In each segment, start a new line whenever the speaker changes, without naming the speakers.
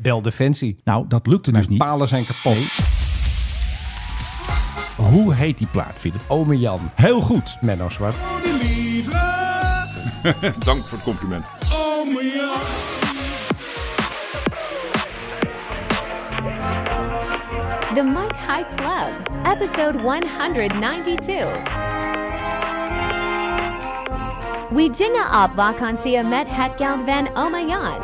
Del Defensie.
Nou, dat lukte dus
Mijn
niet.
palen zijn kapot.
Hoe heet die plaat, Philip?
Ome Jan.
Heel goed.
Menno Zwart.
Dank voor het compliment.
The Mike High Club, episode 192. We jinga op vakantia met het geld van Omayan.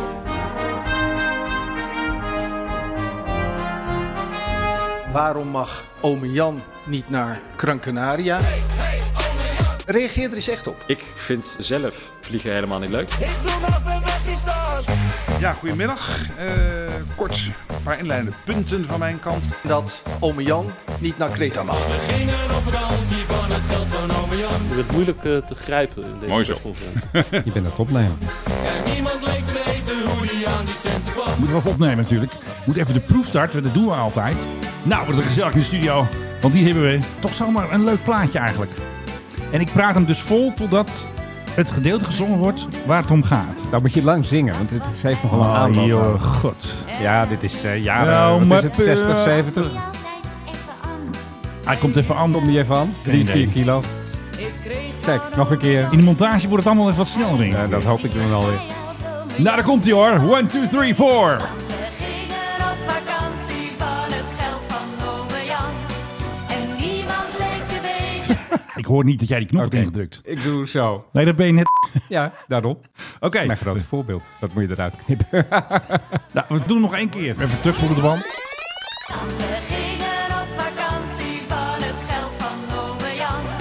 Waarom mag ome Jan niet naar Krankenaria? Reageer er eens echt op.
Ik vind zelf vliegen helemaal niet leuk.
Ja, goedemiddag. Eh, kort, een paar inleidende punten van mijn kant.
Dat ome Jan niet naar Kreta mag.
Het is moeilijk eh, te grijpen in deze
Mooi zo.
persconferentie.
Je bent het opnemen.
Moeten we even opnemen natuurlijk. Moet even de proef starten, dat doen we altijd. Nou, wat een gezellig in de studio. Want hier hebben we toch zomaar een leuk plaatje eigenlijk. En ik praat hem dus vol totdat het gedeelte gezongen wordt waar het om gaat.
Nou moet je lang zingen, want het, het heeft nogal een
Oh,
aanloop.
joh, god.
Ja, dit is eh jaren,
Nou,
wat
maar-
is het, 60, 70?
Hij komt even aan.
Kom je even aan? 3,
idee.
4 kilo. Kijk, nog een keer.
In de montage wordt het allemaal even wat sneller, denk ik.
Ja, dat hoop ik dan alweer.
Nou, daar komt hij hoor. 1, 2, 3, 4.
We gingen op vakantie van het geld van ome Jan. En niemand leek te wezen.
Ik hoor niet dat jij die knop hebt
Oké.
ingedrukt.
Ik doe zo.
Nee, dat ben je net.
Ja, daarom.
Oké,
Mijn grote voorbeeld. Dat moet je eruit knippen.
nou, we doen nog één keer. Even terugspoelen ervan.
We gingen op vakantie van het geld van ome Jan.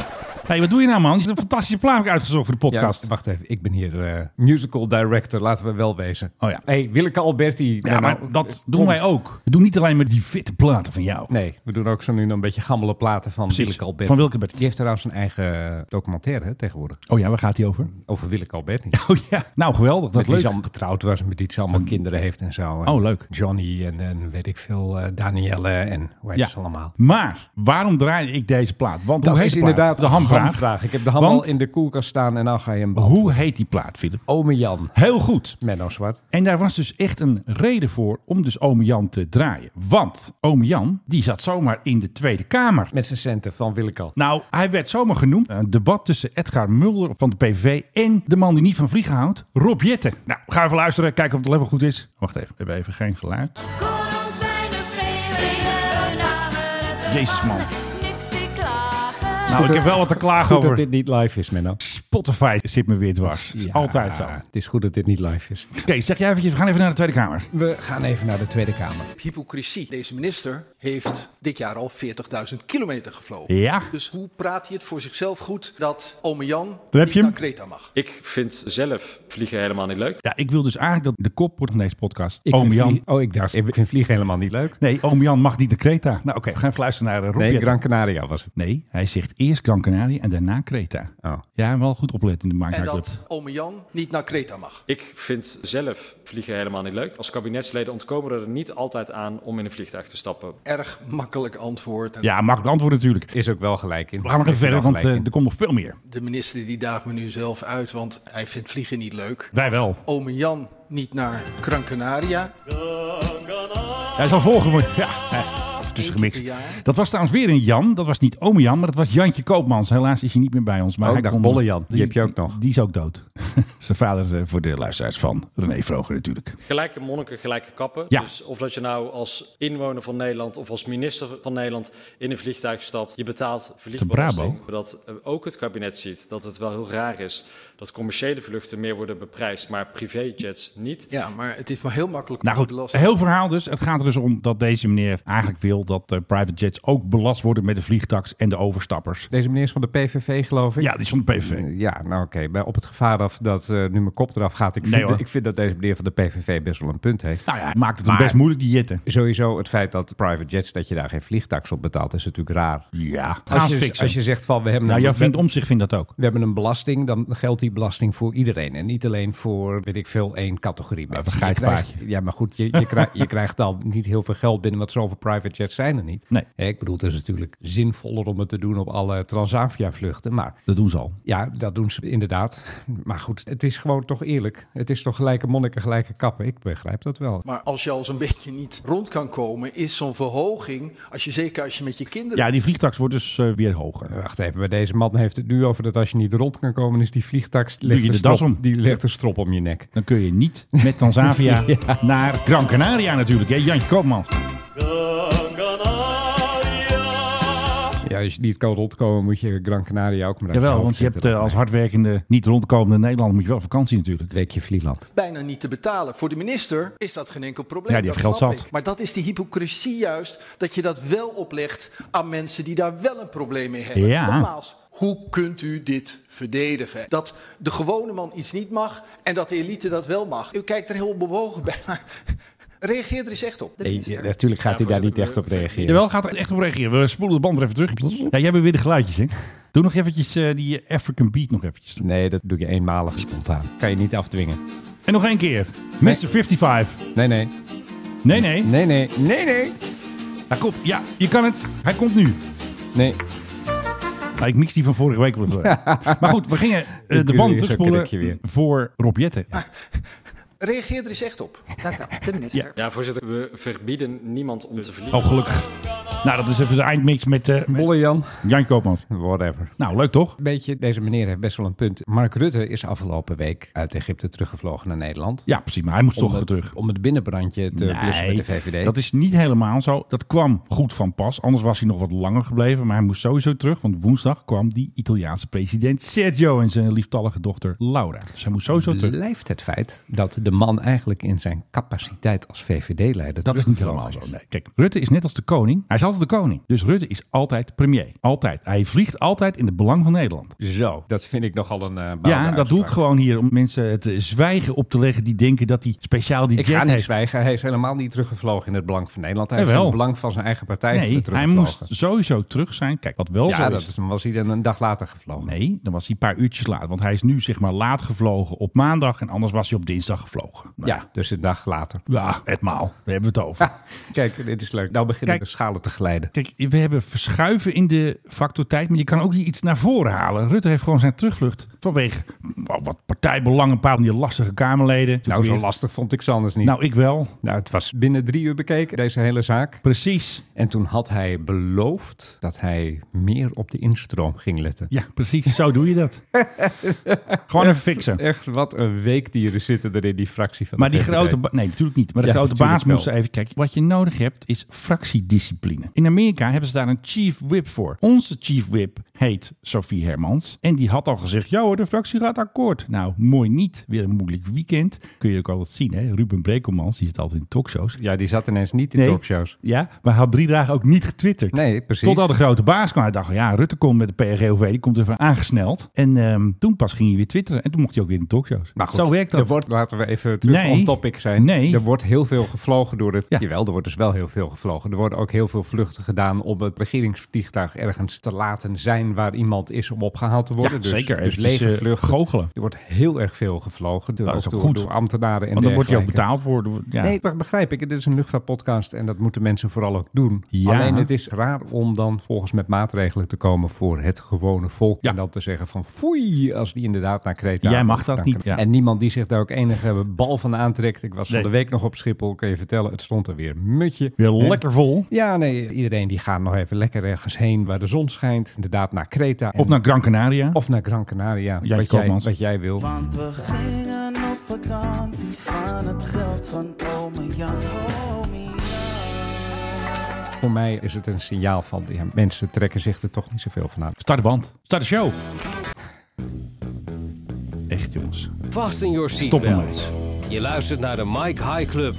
Hé, wat doe je nou man? Je hebt een fantastische plaat heb ik uitgezocht voor de podcast.
Ja, wacht even, ik ben hier eh, musical director, laten we wel wezen.
Oh ja.
hey, Willeke Alberti.
Ja,
nou,
maar dat doen
kom.
wij ook. We doen niet alleen maar die fitte platen van jou.
Nee, we doen ook zo nu en dan een beetje gammele platen van
Precies,
Willeke Alberti.
van Willeke Alberti.
Die heeft trouwens een eigen documentaire hè, tegenwoordig
Oh ja, waar gaat die over?
over Willeke Alberti.
Oh ja, nou geweldig. Dat
Dat
is
die
leuk.
ze allemaal getrouwd was en met die ze allemaal kinderen heeft en zo. En
Oh, leuk.
Johnny en, en weet ik veel, eh, Danielle en hoe heet
Ja.
ze allemaal.
Maar waarom draai ik deze plaat? Want
Dat
hoe heet
is
de plaat?
inderdaad
de hamvraag.
Ik heb de ham al
Want- Oh.
in de koelkast staan en dan ga je hem bouwen.
Hoe heet die plaat, Philip?
Ome Jan,
Heel goed.
Menno Zwart.
En daar was dus echt een reden voor om dus oom Jan te draaien. Want oom Jan, die zat zomaar in de Tweede Kamer.
Met zijn centen van Willeke al.
Nou, hij werd zomaar genoemd. Een debat tussen Edgar Mulder van de PV en de man die niet van vliegen houdt, Rob Jetten. Nou, ga even luisteren, kijken of het level goed is. Wacht even, we hebben even geen geluid.
Kon ons weinig schelen. We namen het ervan.
Jezus, man.
Niks te klagen.
Nou, ik heb wel wat te klagen
Goed dat
over.
dit niet live is, Menno.
Spotify zit me weer dwars. Is
Ja,
Altijd zo. Oké,
Het is goed dat dit niet live is.
zeg jij eventjes, we gaan even naar de Tweede Kamer.
We gaan even naar de Tweede Kamer.
Hypocrisie. Deze minister heeft dit jaar al 40.000 kilometer gevlogen.
Ja.
Dus hoe praat hij het voor zichzelf goed dat ome Jan
heb
niet
je hem.
naar Kreta mag?
Ik vind zelf vliegen helemaal niet leuk.
Ja, ik wil dus eigenlijk dat de kop wordt van deze podcast.
Ik
oom
vind
Jan.
vlie- oh, ik dacht, ik vind vliegen helemaal niet leuk.
Nee, oom Jan mag niet naar Creta. Nou oké, we gaan even luisteren naar eh, Rob
Nee,
Jetten.
Gran Canaria was het.
Nee, hij zegt eerst Gran Canaria en daarna Creta.
Oh.
Ja, wel goed opletten in de
En
Maakzaakclub.
dat ome Jan niet naar Kreta mag.
Ik vind zelf vliegen helemaal niet leuk. Als kabinetsleden ontkomen we er niet altijd aan om in een vliegtuig te stappen.
Erg makkelijk antwoord. En
Ja, makkelijk antwoord natuurlijk.
Is ook wel gelijk in.
We gaan nog even
Is er
verder,
wel
want
gelijk
eh,
in.
er komt nog veel meer.
De minister die daagt me nu zelf uit, want hij vindt vliegen niet leuk.
Wij wel.
Ome Jan niet naar Krankenaria.
Hij is al volgemaakt. Ja, hè. of het is gemixt.
Ja.
Dat was trouwens weer een Jan. Dat was niet ome Jan, maar dat was Jantje Koopmans. Helaas is hij niet meer bij ons. Maar
Oh,
hij
ik dacht
kon-
Bolle Jan. Die heb je ook nog.
Die is ook dood. Zijn vader eh, voor de luisteraars van René Vroger natuurlijk.
Gelijke monniken, gelijke kappen.
Ja.
Dus of dat je nou als inwoner van Nederland of als minister van Nederland in een vliegtuig stapt, je betaalt vliegbelasting.
Brabo?
Dat eh, ook het kabinet ziet dat het wel heel raar is dat commerciële vluchten meer worden beprijsd, maar privéjets niet.
Ja, maar het is maar heel makkelijk
Nou
om te
goed,
belasten.
heel verhaal dus. Het gaat er dus om dat deze meneer eigenlijk wil dat eh, private jets ook belast worden met de vliegtax en de overstappers.
Deze meneer is van de PVV, geloof ik.
Ja, die is van de PVV.
Ja, nou oké. maar Op het gevaar af dat eh, nu mijn kop eraf gaat. Ik,
Nee,
vind,
hoor.
ik vind dat deze meneer van de PVV best wel een punt heeft.
Nou ja, hij maakt het hem
Maar-
best moeilijk, die jetten.
Sowieso het feit dat private jets, dat je daar geen vliegtax op betaalt, is natuurlijk raar.
Ja, gaan
Als
ze
je,
fixen.
als je zegt van we hebben,
nou,
een,
jouw
we,
vriend om zich vindt dat ook.
we hebben een belasting, dan geldt die belasting voor iedereen. En niet alleen voor, weet ik veel, één categorie mensen.
een
Je krijgt-
geitpaardje.
Ja, maar goed, je, je, krijgt, je krijgt dan niet heel veel geld binnen, want zoveel private jets tickets zijn er niet.
Nee.
Hè, ik bedoel, het is natuurlijk zinvoller om het te doen op alle Transavia-vluchten. Maar
Dat doen ze al.
ja, dat doen ze inderdaad. Maar goed, het is gewoon toch eerlijk. Het is toch gelijke monniken, gelijke kappen. Ik begrijp dat wel.
Maar als je al zo'n beetje niet rond kan komen, is zo'n verhoging, als je, zeker als je met je kinderen
Ja, die vliegtax wordt dus eh, weer hoger.
Wacht even, bij deze man heeft het nu over dat als je niet rond kan komen, is die vliegtax die
Doe je
legt, een
de das
strop,
om.
die legt een strop om je nek.
Dan kun je niet met Tanzavia naar Gran Canaria natuurlijk. Hè? Jantje Koopmans.
Ja, als je niet kan rondkomen, moet je Gran Canaria ook maar uit
Jawel,
hoofd
want je hebt
zetten.
eh, als hardwerkende, niet rondkomende Nederlander moet je wel op vakantie natuurlijk.
Weekje Vlieland.
bijna niet te betalen. Voor de minister is dat geen enkel probleem.
Ja, die heeft
dat
geld
snap
zat.
ik. Maar dat is die hypocrisie juist, dat je dat wel oplegt aan mensen die daar wel een probleem mee hebben.
Ja.
Nogmaals, hoe kunt u dit verdedigen? Dat de gewone man iets niet mag en dat de elite dat wel mag. U kijkt er heel bewogen bij, maar reageer er eens echt op.
Nee, ja, natuurlijk gaat hij daar niet echt op reageren.
Jawel, gaat er echt op reageren. We spoelen de band er even terug. Ja, jij hebt weer de geluidjes, hè? Doe nog eventjes eh, die African Beat nog eventjes.
Nee, dat doe je eenmalig spontaan. Kan je niet afdwingen.
En nog één keer. Mr. 55.
Nee, nee.
Nee, nee.
Nee, nee. Nee, nee.
Hij komt. Ja, je kan het. Hij komt nu.
Nee.
Nou, ik mix die van vorige week wel even. Maar goed, we gingen eh, de
doe
band
weer zo'n
terugspoelen
krukje weer.
voor Rob Jetten.
Reageer er eens echt op.
Dank u, de minister.
Ja, voorzitter, we verbieden niemand om te verliezen.
Oh, gelukkig. Nou, dat is even de eindmix met eh, met
Bolle Jan.
Jan Koopmans.
Whatever.
Nou, leuk toch?
Weet je, deze meneer heeft best wel een punt. Mark Rutte is afgelopen week uit Egypte teruggevlogen naar Nederland.
Ja, precies. Maar hij moest toch
het-
terug.
om het binnenbrandje te blussen bij de VVD.
dat is niet helemaal zo. Dat kwam goed van pas. Anders was hij nog wat langer gebleven. Maar hij moest sowieso terug. Want woensdag kwam die Italiaanse president Sergio en zijn lieftallige dochter Laura. Dus hij moest sowieso terug.
blijft het feit dat de man eigenlijk in zijn capaciteit als VVD-leider...
Dat is niet helemaal zo. Nee. Dus- Kijk, Rutte is net als de koning. Hij is altijd de koning. Dus Rutte is altijd premier. Altijd. Hij vliegt altijd in het belang van Nederland.
Zo, dat vind ik nogal een eh
ja, dat doe ik gewoon hier om mensen het eh, zwijgen op te leggen die denken dat hij speciaal die
Ik
jet
ga niet
heeft.
zwijgen. Hij is helemaal niet teruggevlogen in het belang van Nederland. Hij is
Jawel.
in het belang van zijn eigen partij
Nee, hij
teruggevlogen.
moest sowieso terug zijn. Kijk, wat wel zo
Ja,
is.
dat is, dan was hij dan een dag later gevlogen.
Nee, dan was hij een paar uurtjes laat. Want hij is nu zeg maar laat gevlogen op maandag en anders was hij op dinsdag gevlogen. Nou
Ja, dus een dag later.
Ja, het maal. Daar hebben we het over.
Kijk, dit is leuk. Nou beginnen
Kijk.
de schalen te glijden.
Kijk, we hebben verschuiven in de factor tijd, maar je kan ook hier iets naar voren halen. Rutte heeft gewoon zijn terugvlucht vanwege nou, wat partijbelang, een paar van die lastige Kamerleden.
Nou, zo
Weer-
lastig vond ik Sanders niet. Nou,
Nou, ik wel.
het was binnen drie uur bekeken, deze hele zaak.
Precies.
En toen had hij beloofd dat hij meer op de instroom ging letten.
Ja, precies. Zo doe je dat. gewoon even fixen.
Echt, wat een weekdieren zitten er in die fractie van
Maar
de
die
VVD.
grote... ba- Nee, natuurlijk niet. Maar de
Ja,
grote
natuurlijk
baas
wel.
moest even kijken. Wat je nodig hebt is fractiediscipline. In Amerika hebben ze daar een chief whip voor. Onze chief whip heet Sophie Hermans. En die had al gezegd, ja hoor, de fractie gaat akkoord. Nou, mooi niet. Weer een moeilijk weekend. Kun je ook altijd zien, hè. Ruben Brekelmans, die zit altijd in talkshows.
Ja, die zat ineens niet in
Nee.
talkshows.
Ja, maar had drie dagen ook niet getwitterd.
Nee, precies.
Totdat de grote baas kwam. Hij dacht, ja, Rutte komt met de PRGOV. Die komt even aangesneld. En ehm, toen pas ging hij weer twitteren. En toen mocht hij ook weer in talkshows.
Maar goed,
Zo werkt dat.
Er wordt, laten we even terug
Nee.
on topic zijn.
Nee.
Er wordt heel veel gevlogen door het...
Ja.
Jawel, er wordt dus wel heel veel gevlogen. Er worden ook heel veel vluchten gedaan om het regeringsvliegtuig ergens te laten zijn waar iemand is om opgehaald te worden.
Ja,
dus,
zeker.
Dus
Eventjes,
lege
eh,
vluchten.
goochelen.
Er wordt heel erg veel gevlogen. Door,
Nou, dat is ook
door,
goed.
door ambtenaren en
Want dan word je ook
dergelijke.
betaald voor. door- Ja.
Nee, dat begrijp ik. Dit is een luchtvaartpodcast en dat moeten mensen vooral ook doen.
Ja.
Alleen het is raar om dan volgens met maatregelen te komen voor het gewone volk.
Ja.
En dan te zeggen van foei als die inderdaad naar Kreta.
Jij mag
of
dat
naar-
niet, ja.
En niemand die zich daar ook enige bal van aantrekt. Ik was
Nee.
van de week nog op Schiphol, kan je vertellen. Het stond er weer een mutje.
Weer
En-
lekker vol.
Ja, nee, iedereen die gaat nog even lekker ergens heen waar de zon schijnt. Inderdaad naar Kreta. En-
Of naar Gran Canaria.
of naar Gran Canaria,
Jantje
wat, jij,
Koopmans.
wat jij wil.
Want we gingen op vakantie van het geld van ome Jan. Ome Jan.
Voor mij is het een signaal van ja, mensen trekken zich er toch niet zoveel van aan.
Start de band. Start de show. Echt jongens.
Vast in your
Stop hem
seatbelts. Je luistert naar de Mike High Club.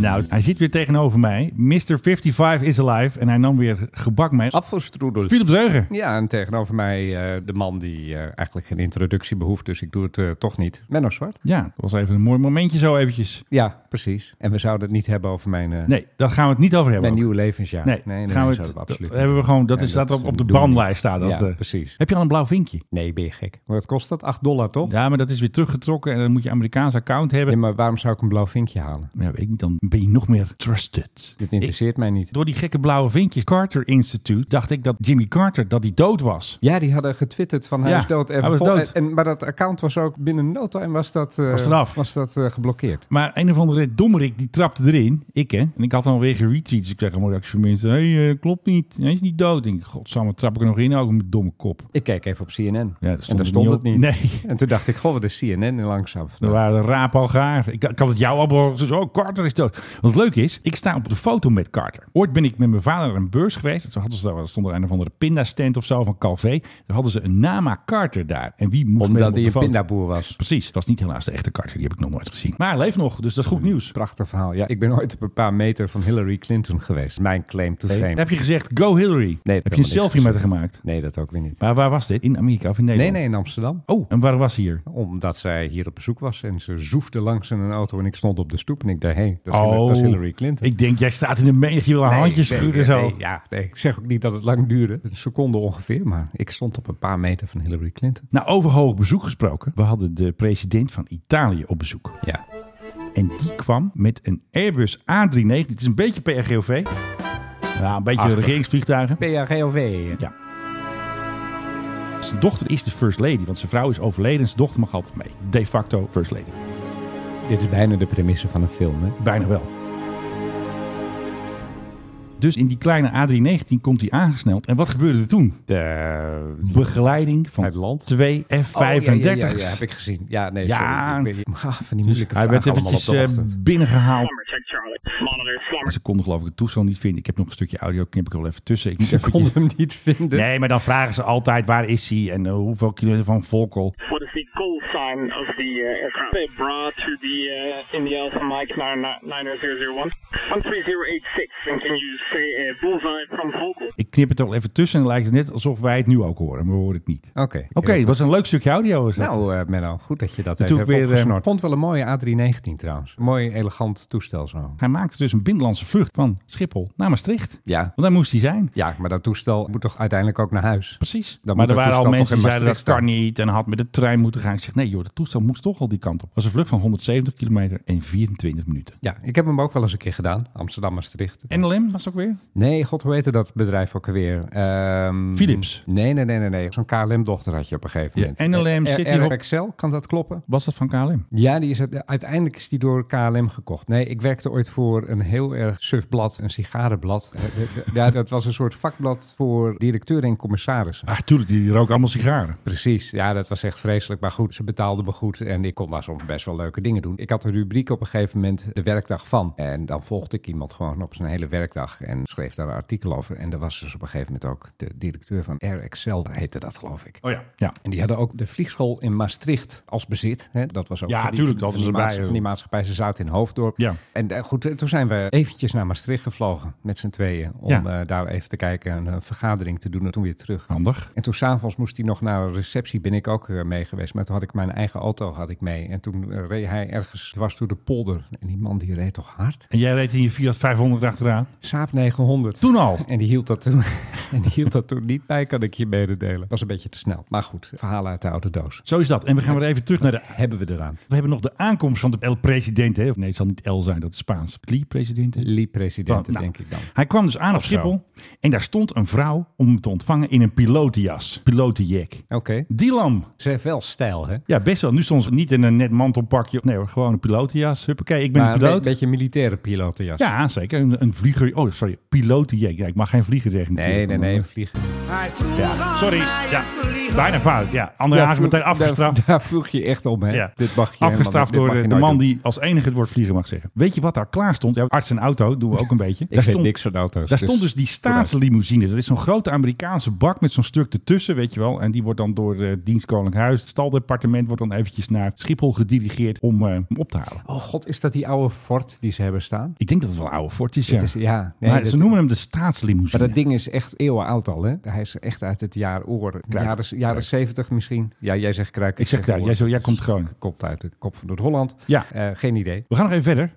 Nou, hij zit weer tegenover mij. Mr. 55 is alive. En hij nam weer gebak mee.
Afvalstroedel.
Philip Deugen.
Ja, en tegenover mij eh, de man die eh, eigenlijk geen introductie behoeft, dus ik doe het eh, toch niet. Menno Zwart.
Ja, dat was even een mooi momentje zo eventjes.
Ja, precies. En we zouden het niet hebben over mijn, eh,
Nee, daar gaan we het niet over hebben.
mijn
ook.
nieuwe levensjaar.
Nee, gaan we het,
zouden
dat
niet
hebben we gewoon, dat
Nee,
is dat
dat
op, op de
doen we niet.
bandlijst staat. Dat,
Ja,
eh.
precies.
Heb je al een blauw vinkje?
doen. Nee, ben je gek. Wat kost dat? 8 dollar, toch?
Ja, maar dat is weer teruggetrokken en dan moet je Amerikaans account hebben.
Nee, maar waarom zou ik een blauw vinkje halen?
Ja, weet ik niet, dan ben je nog meer trusted.
Dit interesseert mij niet.
Door die gekke blauwe vinkjes Carter Institute dacht ik dat Jimmy Carter dat hij dood was.
Ja, die hadden getwitterd van hij
Ja,
is dood. En
hij was
vol-
dood.
En, maar dat account was ook binnen no time was dat, eh,
Was eraf.
was dat eh, geblokkeerd.
Maar een of andere dommerik die trapte erin. Ik hè. En ik had dan weer geretweet. Dus ik kreeg allemaal reacties van mensen. Hé, hey, eh, klopt niet. Hij is niet dood. Ik denk, godsamme, trap ik er nog in? Ook met domme kop.
Ik keek even op CNN.
Ja, daar
en
stond
daar
het
stond
niet
het
op.
niet.
Nee.
En toen dacht ik, goh, wat is CNN langzaam.
Er
vandaag.
waren raap al gaar. Ik, ik had het jou al behoorlijk. Dus, oh, Carter is dood. Wat leuk is, ik sta op de foto met Carter. Ooit ben ik met mijn vader naar een beurs geweest. Toen hadden ze daar, er stond er een of andere pindastand of zo van Calvé. Toen hadden ze een Nama Carter daar. En wie moest met hem
Omdat
op
hij
de
een
foto?
pindaboer was.
Precies. Dat was niet helaas de echte Carter. Die heb ik nog nooit gezien. Maar hij leeft nog, dus dat is goed nieuws.
Prachtig verhaal. Ja, ik ben ooit op een paar meter van Hillary Clinton geweest. Mijn claim to fame.
Heb je gezegd, go Hillary?
heb
heb je een
helemaal
selfie
niks
met haar gemaakt?
Nee, dat ook weer niet.
Maar waar was dit? In Amerika of in
Nee,
Nederland?
nee, in Amsterdam.
Oh, en waar was hij hier?
Omdat zij hier op bezoek was en ze zoefde langs in een auto en ik stond op de stoep en ik dacht, hé, hey, dat, is Hillary- dat is Hillary Clinton.
Oh, Ik denk, jij staat in de menigte, je wil haar
Nee,
handjes
nee,
schudden
nee,
zo.
nee, ja, nee, ik zeg ook niet dat het lang duurde. Een seconde ongeveer, maar ik stond op een paar meter van Hillary Clinton.
Nou, over hoog bezoek gesproken. We hadden de president van Italië op bezoek.
Ja,
En die kwam met een Airbus A390. Het is een beetje PRGOV. Ja, een beetje
Achtig.
regeringsvliegtuigen.
PRGOV.
Ja. Zijn dochter is de first lady, want zijn vrouw is overleden en zijn dochter mag altijd mee. De facto first lady.
Dit is bijna de premisse van een film, hè?
Bijna wel. Dus in die kleine A319 komt hij aangesneld. En wat gebeurde er toen?
De...
Begeleiding van
Uit land.
twee F-35's.
Oh, ja, ja, ja, ja, heb ik gezien. Ja, nee,
Ja.
sorry. Ik ben- Maar van die
Dus
moeilijke
hij werd
vragen allemaal op
eventjes
de
eh,
ochtend.
binnengehaald. Ze konden geloof ik het toestel niet vinden. Ik heb nog een stukje audio, knip ik er wel even tussen. Ik moet
Ze
eventjes-
konden hem niet vinden.
Nee, maar dan vragen ze altijd waar is hij en eh, hoeveel kilometer van Volkel.
What is the call sign of the uh, aircraft? They brought to the uh, in the Alpha Mike 99001. 13086. And can you say uh, bullseye from Vogel?
Ik knip het er wel even tussen en dan lijkt het net alsof wij het nu ook horen, maar we horen het niet. Oké,
Oké.
het was een leuk stukje audio. Was dat.
eh, Nou, eh Menno, goed dat je dat
Dat
even
doe ik
hebt
weer, eh,
opgesnord. Ik vond wel een mooie A319 trouwens. Mooi, elegant toestel zo.
Hij maakte dus een binnenlandse vlucht van Schiphol naar Maastricht.
Ja.
Want daar moest hij zijn.
Ja, maar dat toestel moet toch uiteindelijk ook naar huis?
Precies.
Dan
maar
moet
er
dat
waren al
toestel
mensen
toch
die
in
zeiden dat
Maastricht
kan niet en had met de trein moeten gaan. Ik zeg nee joh, dat toestel moest toch al die kant op. Het was een vlucht van 170 kilometer en 24 minuten.
Ja, ik heb hem ook wel eens een keer gedaan. Amsterdam-Maastricht.
NLM was het ook weer?
Nee, god, hoe heette dat bedrijf ook alweer? Ehm,
Philips.
Nee, nee, nee, nee. nee. Zo'n KLM-dochter had je op een gegeven
Ja,
moment.
NLM
R-
zit
R-
hier op-
RXL, kan dat kloppen?
Was dat van KLM?
Ja, die is het, uiteindelijk is die door KLM gekocht. Nee, ik werkte ooit voor een heel erg surfblad, een sigarenblad. Eh, de- de- ja, dat was een soort vakblad voor directeuren en commissarissen.
Ah, tuurlijk, die roken allemaal sigaren.
Precies, ja, dat was echt vreselijk. Maar goed, ze betaalden me goed en ik kon daar soms best wel leuke dingen doen. Ik had een rubriek op een gegeven moment, de werkdag van. En dan volgde ik iemand gewoon op zijn hele werkdag en schreef daar een artikel over. En er was dus op een gegeven moment ook de directeur van RXL, heette dat geloof ik.
Oh ja. Ja,
En die hadden ook de vliegschool in Maastricht als bezit. Hè? Dat was ook
Ja,
van die-
tuurlijk, dat
van
was
die,
erbij,
maats-
joh.
van die maatschappij. Ze zaten in Hoofddorp.
Ja.
En eh, goed, eh, toen zijn we eventjes naar Maastricht gevlogen met z'n tweeën. Om
Ja.
eh, daar even te kijken en een vergadering te doen en toen weer terug.
handig.
En toen s'avonds moest hij nog naar een receptie, ben ik ook eh, mee geweest. Maar toen had ik mijn eigen auto had ik mee. En toen eh, reed hij ergens dwars door de polder. En die man die reed toch hard?
En jij reed in je Fiat 500 achteraan?
Saab 900.
Toen al.
En die hield dat toen, en die hield dat toen niet bij, kan ik je mededelen. Was een beetje te snel. Maar goed, verhalen uit de oude doos.
Zo is dat. En we gaan weer even terug naar de...
Hebben we eraan.
We hebben nog de aankomst van de El Presidente. Of nee, het zal niet El zijn, dat is Spaans. Li Presidente.
Lee
Nou,
presidenten,
nou,
denk ik dan.
Hij kwam dus aan op
zo.
Schiphol. En daar stond een vrouw om hem te ontvangen in een pilotenjas. Pilotenjack.
Oké.
Dilam.
Ze heeft wel stijl, hè?
Ja, best wel. Nu stond ze niet in een net mantelpakje. Nee hoor, gewoon een pilotenjas. Huppakee, ik ben
Maar
een
een be-
piloot.
beetje militaire pilotenjas.
Ja, zeker. Een, een vlieger... Oh, sorry. Pilotenjack. Ja, ik mag geen vlieger zeggen.
Nee, nee,
natuurlijk.
nee, vliegen.
Ja, sorry. Ja, bijna fout. Ja, André Hazes
vroeg-
meteen afgestraft.
Daar, daar vroeg je echt om, hè?
Ja.
Dit mag je helemaal
Afgestraft door
niet-
de,
dit mag
de
je nooit
man
doen.
die als enige het woord vliegen mag zeggen. Weet je wat daar klaar stond? Ja, arts en auto doen we ook een beetje.
Ik weet niks van auto's.
Daar stond dus die staatslimousine. Dat is zo'n grote Amerikaanse bak met zo'n stuk ertussen, weet je wel. En die wordt dan door eh Dienst Koninklijk Huis, het staldepartement, wordt dan eventjes naar Schiphol gedirigeerd om eh, hem op te halen.
Oh god, is dat die oude Ford die ze hebben staan?
Ik denk dat het wel een oude Ford is, ja.
Het is, ja, nee,
Maar
dat-
ze noemen hem de staatslimousine.
maar dat ding is echt eeuwen oud al, hè? Hij is echt uit het jaar oor. Jaren, jaren 70 misschien. Ja, jij zegt kruik.
Ik zeg kruik.
oor.
Jij zo- jij
Dat is
komt Groningen.
Komt uit de kop van Noord-Holland.
Ja.
Eh, geen idee.
We gaan nog even verder.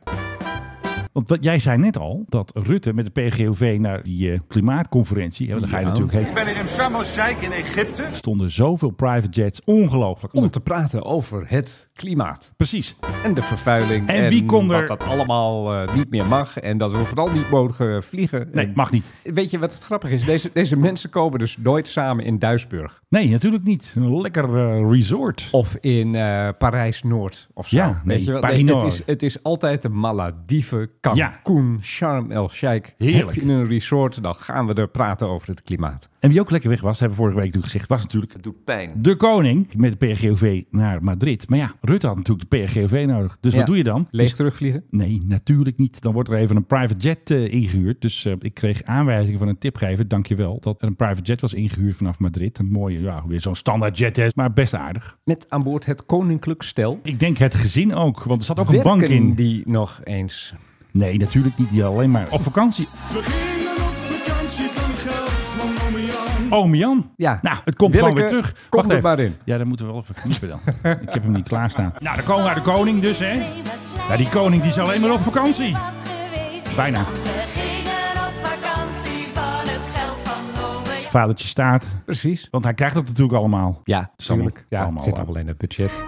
Want wat jij zei net al, dat Rutte met de PGOV naar die eh, klimaatconferentie, ja, daar ga je
Ja.
natuurlijk heen.
Ik ben er in Sharm el-Sheikh in Egypte.
stonden zoveel private jets. Ongelooflijk.
Om te praten over het klimaat.
Precies.
En de vervuiling.
En wie kon er-
Dat dat allemaal eh, niet meer mag. En dat we vooral niet mogen vliegen.
Nee, mag niet.
Weet je wat het grappige is? Deze, deze mensen komen dus nooit samen in Duisburg.
Nee, natuurlijk niet. Een lekker eh, resort.
Of in Parijs-Noord of zo.
Ja, nee,
Weet je wel?
Paris
Nee,
Noord.
het, is, het is altijd de Malediven, Cancun, Sharm el-Sheikh.
Heerlijk.
Heb je een resort, dan gaan we er praten over het klimaat.
En wie ook lekker weg was, hebben we vorige week natuurlijk gezegd, was natuurlijk
Het doet pijn.
de koning met de PGOV naar Madrid. Maar ja, Rutte had natuurlijk de PGOV nodig. Dus
Ja.
wat doe je dan?
Leeg
Dus-
terugvliegen?
Nee, natuurlijk niet. Dan wordt er even een private jet eh, ingehuurd. Dus eh, ik kreeg aanwijzingen van een tipgever, dankjewel, dat er een private jet was ingehuurd vanaf Madrid. Een mooie, ja, weer zo'n standaard jet, hè, maar best aardig.
Met aan boord het koninklijk stel.
Ik denk het gezin ook, want er zat ook
Werken
een bank in.
die nog eens?
Nee, natuurlijk niet. Die alleen maar op vakantie.
We gingen op vakantie van geld van ome Jan.
Oom Jan.
Ja.
Nou, het komt
Willeke,
gewoon weer terug.
kom
Wacht
er
even.
maar in.
Ja, dan moeten we wel even kniepen dan. Ik heb hem niet klaarstaan. Nou, dan komen we naar de koning dus, hè. Ja, die koning die is alleen maar op vakantie. Bijna.
We gingen op vakantie van het geld van ome Jan.
Vadertje staat.
Precies.
Want hij krijgt dat natuurlijk allemaal.
Ja,
natuurlijk.
Ja, het zit allemaal in het budget.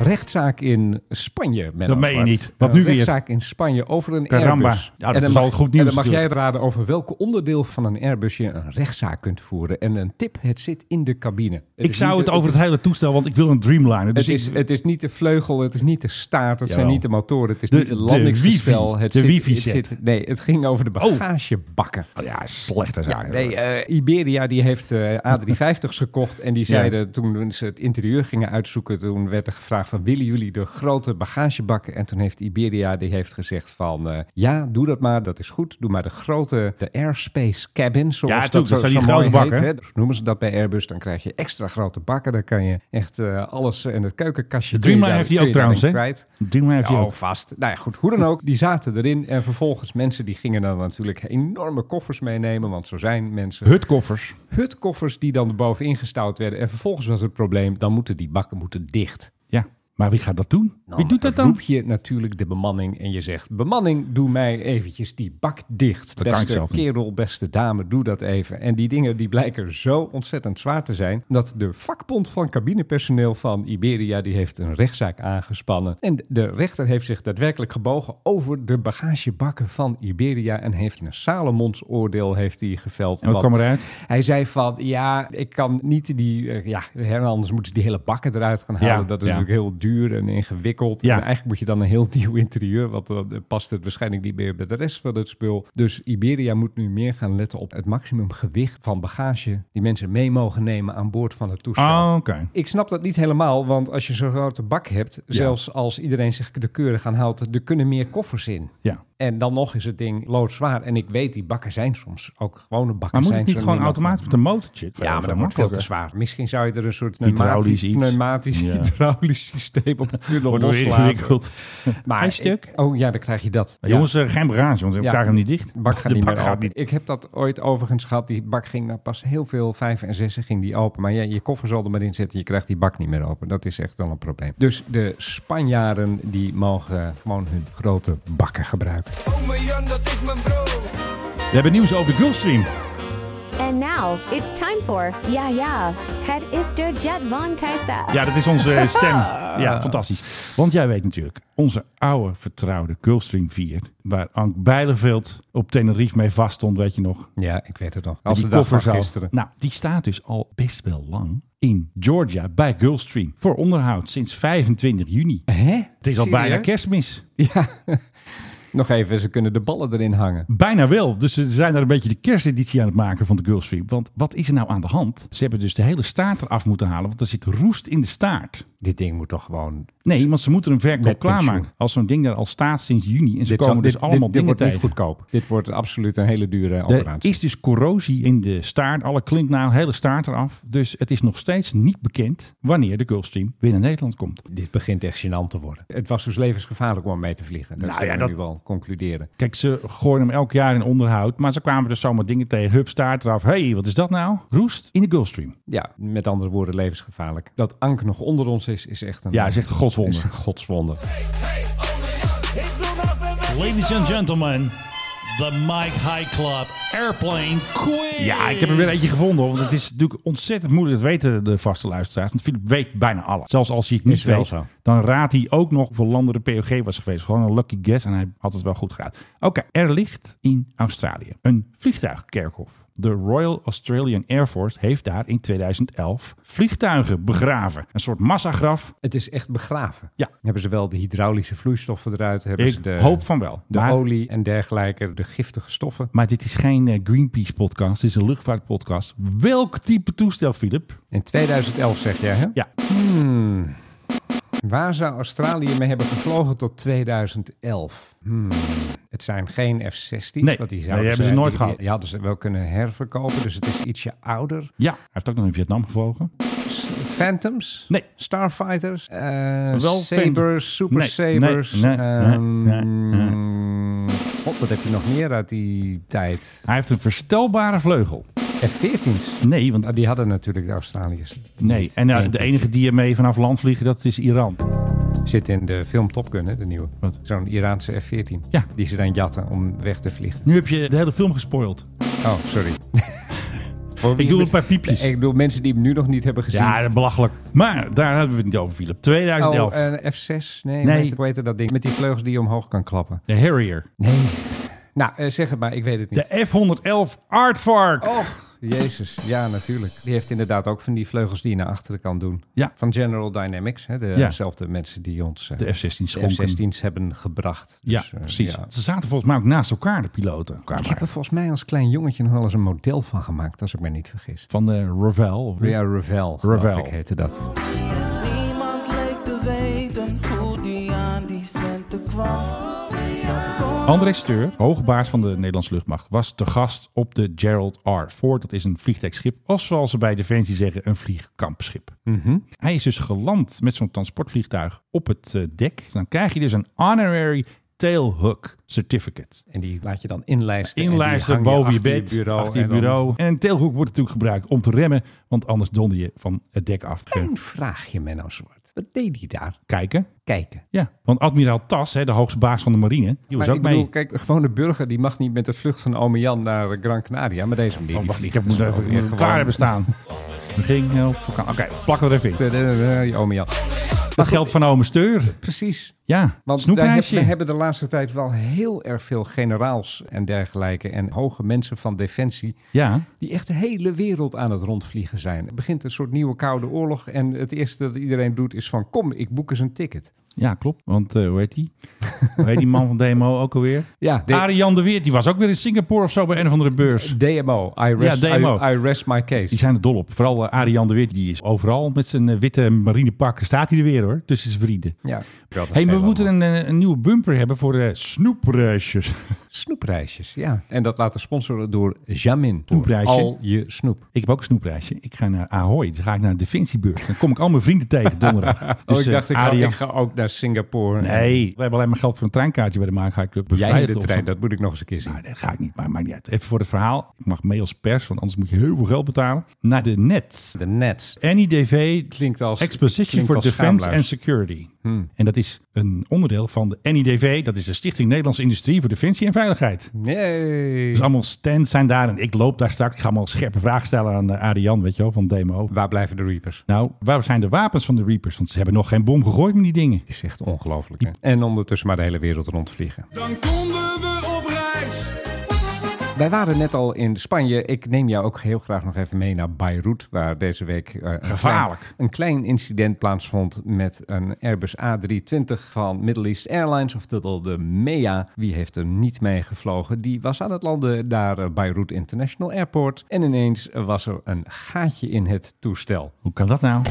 Rechtszaak in Spanje. Menno
Dat meen je
Zwart.
niet. Wat
Een
nu weer?
Rechtszaak in Spanje over een
Caramba.
Airbus.
Ja, dat
En dan
is
mag-
al goed nieuws
En dan mag jij
natuurlijk.
raden over welk onderdeel van een Airbus je een rechtszaak kunt voeren. En een tip, het zit in de cabine. Het
Ik
is
zou
niet-
het over het
is-
hele toestel, want ik wil een Dreamliner. Dus
het is,
ik-
het is niet de vleugel, het is niet de staart, het zijn
Jawel.
niet de motoren, het is
De-
niet het
de
landingsgestel.
wifi.
het
De
zit,
wifi
het
set.
zit- Nee, het ging over de
Oh.
bagagebakken.
ja, slechte
Ja,
zaak.
nee, eh, Iberia die heeft eh, A350's gekocht en die
Ja.
zeiden toen ze het interieur gingen uitzoeken, toen werd er gevraagd van willen jullie de grote bagagebakken? En toen heeft Iberia die heeft gezegd van eh, ja, doe dat maar, dat is goed. Doe maar de grote, de airspace cabin, zoals
Ja,
dat, zo,
natuurlijk, dat zijn die
zo mooi
grote bakken,
heet,
hè?
hè. Dus noemen ze dat bij Airbus, dan krijg je extra grote bakken. Dan kan je echt eh, alles en het keukenkastje.
De
kun
Dreamliner
je
heeft die
daar-
ook
kun je
trouwens, hè?
daarin kwijt.
De Dreamliner heeft die
Ja,
ook.
vast. Nou ja, goed, hoe dan ook, die zaten erin. En vervolgens mensen die gingen dan natuurlijk enorme koffers meenemen, want zo zijn mensen.
Hutkoffers.
Hutkoffers die dan erbovenin gestouwd werden. En vervolgens was het probleem, dan moeten die bakken moeten dicht.
Ja, maar wie gaat dat doen?
Nou,
wie doet dat dan?
roep je natuurlijk de bemanning en je zegt... bemanning, doe mij eventjes die bak dicht.
Dat kan ik
beste
zelf niet.
kerel, beste dame, doe dat even. En die dingen die blijken zo ontzettend zwaar te zijn... dat de vakbond van cabinepersoneel van Iberia... die heeft een rechtszaak aangespannen. En de rechter heeft zich daadwerkelijk gebogen... over de bagagebakken van Iberia... en heeft een Salomons oordeel heeft hij geveld.
En wat
Want
kwam eruit?
Hij zei van, ja, ik kan niet die... eh, ja, hè, anders moeten ze die hele bakken eruit gaan halen.
Ja,
dat is
ja.
natuurlijk heel duur en ingewikkeld.
Ja.
En eigenlijk moet je dan een heel nieuw interieur, want dan eh, past het waarschijnlijk niet meer bij de rest van het spul. Dus Iberia moet nu meer gaan letten op het maximum gewicht van bagage die mensen mee mogen nemen aan boord van het toestel.
Ah, Oké.
Ik snap dat niet helemaal, want als je zo'n grote bak hebt, zelfs als iedereen zich de keurig aan houdt, er kunnen meer koffers in.
Ja.
En dan nog is het ding loodzwaar. En ik weet, die bakken zijn soms ook gewone bakken.
Maar moet
zijn
het niet
zo
gewoon
nu nog-
automatisch met een motortje?
Ja, maar dat wordt veel te zwaar. Misschien zou je er een soort
Hydraulisch
pneumatisch,
iets.
pneumatisch
Ja.
hydraulisch systeem op kunnen
Wordt weer
loslaten.
ingewikkeld.
Maar
Een stuk.
ik- oh ja, dan krijg je dat.
Maar jongens, eh, geen bagage, want we
Ja.
krijgen hem niet dicht.
De bak gaat
De
niet
bak
meer
gaat
open.
niet.
Ik heb dat ooit overigens gehad. Die bak ging nou pas heel veel, vijf en zessen ging die open. Maar ja, je koffer zal er maar in zitten. Je krijgt die bak niet meer open. Dat is echt wel een probleem. Dus de Spanjaarden die mogen gewoon hun grote bakken gebruiken.
Ome Jan, dat is mijn broer.
We hebben nieuws over de Gulfstream.
And now it's time for Yeah Yeah. Het is der Jet von Kaiser.
Ja, dat is onze eh, stem.
Ah.
Ja, fantastisch. Want jij weet natuurlijk, onze oude vertrouwde Gulfstream 4, waar Ank Bijleveld op Tenerife mee vaststond, weet je nog.
Ja, ik weet het nog.
Met
Als
die
de dag van
kofferzaal.
gisteren.
Nou, die staat dus al best wel lang in Georgia bij Gulfstream voor onderhoud sinds 25 juni.
Hè?
Het is al
Serieus?
bijna kerstmis.
Ja. Nog even, ze kunnen de ballen erin hangen.
Bijna wel. Dus ze zijn daar een beetje de kersteditie aan het maken van de Gulfstream. Want wat is er nou aan de hand? Ze hebben dus de hele staart eraf moeten halen, want er zit roest in de staart.
Dit ding moet toch gewoon...
Nee, want ze moeten hem verkoop
Dus Met pensioen.
klaarmaken. Als zo'n ding daar al staat sinds juni. En ze
Dit
komen
zal-
dus
dit- dit-
allemaal
dit
dingen
wordt niet
tegen.
goedkoop. Dit wordt absoluut een hele dure
Er
operatie.
is dus corrosie in de staart. Alle klinkt na, hele staart eraf. Dus het is nog steeds niet bekend wanneer de Gulfstream weer naar Nederland komt.
Dit begint echt gênant te worden. Het was dus levensgevaarlijk om mee te vliegen. Dat
nou
kunnen
ja,
we
dat,
nu wel. concluderen.
Kijk, ze gooien hem elk jaar in onderhoud. Maar ze kwamen dus zomaar dingen tegen. Hup, staart eraf. Hé, hey, wat is dat nou? Roest in de Gulfstream.
Ja, met andere woorden, levensgevaarlijk. Dat Ank nog onder ons is, is echt een...
Ja, is echt een godswonder.
Is een godswonder.
Ladies and gentlemen, the Mike High Club Airplane Quiz.
Ja, ik heb er weer eentje gevonden. hoor, Want het is natuurlijk ontzettend moeilijk. Dat weten de vaste luisteraars. Want Philip weet bijna alles. Zelfs als hij het niet
Is wel
weet,
zo.
dan raadt hij ook nog hoeveel landen de POG was geweest. Gewoon een lucky guess en hij had het wel goed geraad. Oké, er ligt in Australië een vliegtuigkerkhof. De Royal Australian Air Force heeft daar in 2011 vliegtuigen begraven. Een soort massagraf.
Het is echt begraven.
Ja.
Hebben ze wel de hydraulische vloeistoffen eruit? Hebben
Ik
ze de,
hoop van wel.
De
Maar-
olie en dergelijke, de giftige stoffen.
Maar dit is geen eh, Greenpeace-podcast, dit is een luchtvaartpodcast. Welk type toestel, Philip?
In 2011 zeg jij, hè?
Ja.
Hmm. Waar zou Australië mee hebben gevlogen tot 2011? Hmm. Het zijn geen F-16's.
Nee,
want die
nee,
zouden
die hebben ze nooit
die-
gehad.
Die hadden ze wel kunnen herverkopen, dus het is ietsje ouder.
Ja, hij heeft ook nog in Vietnam gevlogen.
S- Phantoms?
Nee.
Starfighters? Eh,
Wel Phantom.
sabers, Super
Nee,
Sabers?
nee, nee, nee,
ehm,
nee,
God, wat heb je nog meer uit die tijd?
Hij heeft een verstelbare vleugel.
F-14's?
Nee, want
Ah, Die hadden natuurlijk de Australiërs.
nee.
niet,
En eh,
denk
de
ik.
enige die ermee vanaf land vliegen, dat is Iran.
Zit in de film Top Gun, hè, de nieuwe.
Wat?
Zo'n Iraanse F-14.
Ja.
Die ze dan jatten om weg te vliegen.
Nu heb je de hele film gespoild.
Oh, sorry.
Ik doe een paar piepjes.
Ik bedoel, mensen die hem nu nog niet hebben gezien.
Ja, dat is belachelijk. Maar daar hebben we het niet over, Philip. 2011.
oh, een F-6? Nee,
Nee.
Weet, weet het dat ding. Met die vleugels die je omhoog kan klappen.
de Harrier.
Nee. Nou, eh, zeg het maar. Ik weet het niet.
De F-111 Aardvark.
Oh. Och, jezus. Ja, natuurlijk. Die heeft inderdaad ook van die vleugels die je naar achteren kan doen.
Ja.
Van General Dynamics. Hè,
Ja.
dezelfde mensen die ons eh,
De F-16
de
schonken.
F-16's hebben gebracht.
ja,
Dus, eh,
precies.
ja.
Ze zaten volgens mij ook naast elkaar, de piloten. Qua
Ik heb er volgens mij als klein jongetje nog wel eens een model van gemaakt, als ik me niet vergis.
Van de Ravel. of-
Ria Ravel, geloof
Ravel.
ik heette dat.
Niemand leek te weten hoe die aan die centen kwam. Dat kon
André Steur, hoogbaas van de Nederlandse luchtmacht, was te gast op de Gerald R. Ford. Dat is een vliegdekschip, of zoals ze bij Defensie zeggen, een vliegkampschip.
Mhm.
Hij is dus geland met zo'n transportvliegtuig op het eh, dek. Dan krijg je dus een honorary tailhook certificate.
En die laat je dan inlijsten. en die
Inlijsten
hang
boven je
achter
bed,
bureau.
achter je
en dan-
bureau. En een tailhook wordt natuurlijk gebruikt om te remmen, want anders donder je van het dek af. Eh,
Een vraagje, Menno Zwart. nou Wat deed hij daar?
Kijken.
Kijken.
Ja, want admiraal Tas, hè, de hoogste baas van de marine, die was
Maar
ook
ik bedoel,
mee.
kijk, gewoon de burger die mag niet met het vlucht van ome Jan naar eh, Gran Canaria. Maar deze manier.
Oh,
die
wacht, ik
vliegt
heb
dus
moet even
gewoon
moet
weer
klaar hebben
gewoon-
staan. eh, We gingen op vakantie. Oké, plakken we er even in.
Eh, eh, eh, die Ome Jan.
Dat geldt van ome Steur.
Precies.
Ja,
Want daar heb,
snoepreisje.
we hebben de laatste tijd wel heel erg veel generaals en dergelijke. En hoge mensen van defensie.
Ja,
die echt de hele wereld aan het rondvliegen zijn. Er begint een soort nieuwe koude oorlog en het eerste dat iedereen doet is van kom, ik boek eens een ticket.
ja, klopt. Want eh, hoe heet die? hoe heet die man van DMO ook alweer?
Ja, D-
Arjan de Weert, die was ook weer in Singapore of zo bij een of andere beurs.
DMO, I rest,
Ja, DMO.
I, I rest my case.
Die zijn er dol op. Vooral eh, Arjan de Weert, die is overal met zijn eh, witte marinepak. Staat hij er weer hoor, tussen zijn vrienden.
ja, dat is
hey,
heel
maar we moeten
allemaal.
een, eh, een nieuwe bumper hebben voor de snoepreisjes.
Snoepreisjes, ja. En dat laten sponsoren door Jamin. Voor
Snoepreisje.
Al je snoep.
Ik heb ook een snoepreisje. Ik ga naar Ahoy. Dan ga ik naar de Defensiebeurs. Dan kom ik al mijn vrienden tegen donderdag.
oh, ik
eh,
dacht, ik ga,
Arjan-
ik ga ook naar Singapore.
Nee, we hebben alleen maar geld voor een treinkaartje bij de Maakhai Club.
Jij in
Beveiligd
de
of
trein,
zo.
dat moet ik nog eens een keer zien.
Nou, dat ga ik niet, maar maakt niet uit. Even voor het verhaal. Ik mag mee als pers, want anders moet je heel veel geld betalen. Naar de net.
De net
NIDV
klinkt als...
Exposition
klinkt
for
als Hmm.
Defense
schaamluis.
and Security. En dat is een onderdeel van de NIDV. Dat is de Stichting Nederlandse Industrie voor Defensie en Veiligheid.
Nee.
Dus allemaal stands zijn daar. En ik loop daar straks. Ik ga allemaal scherpe vragen stellen aan eh, Adrian, weet je wel, van Demo.
Waar blijven de Reapers?
Nou, waar zijn de wapens van de Reapers? Want ze hebben nog geen bom gegooid met die dingen.
Het is echt ongelooflijk. hè. En ondertussen maar de hele wereld rondvliegen.
Dan konden we op reis.
Wij waren net al in Spanje. Ik neem jou ook heel graag nog even mee naar Beirut, waar deze week eh, een
Gevaarlijk.
klein- een klein incident plaatsvond met een Airbus A320 van Middle East Airlines, oftewel de MEA. Wie heeft er niet mee gevlogen? Die was aan het landen daar eh, Beirut International Airport. En ineens was er een gaatje in het toestel.
Hoe kan dat nou?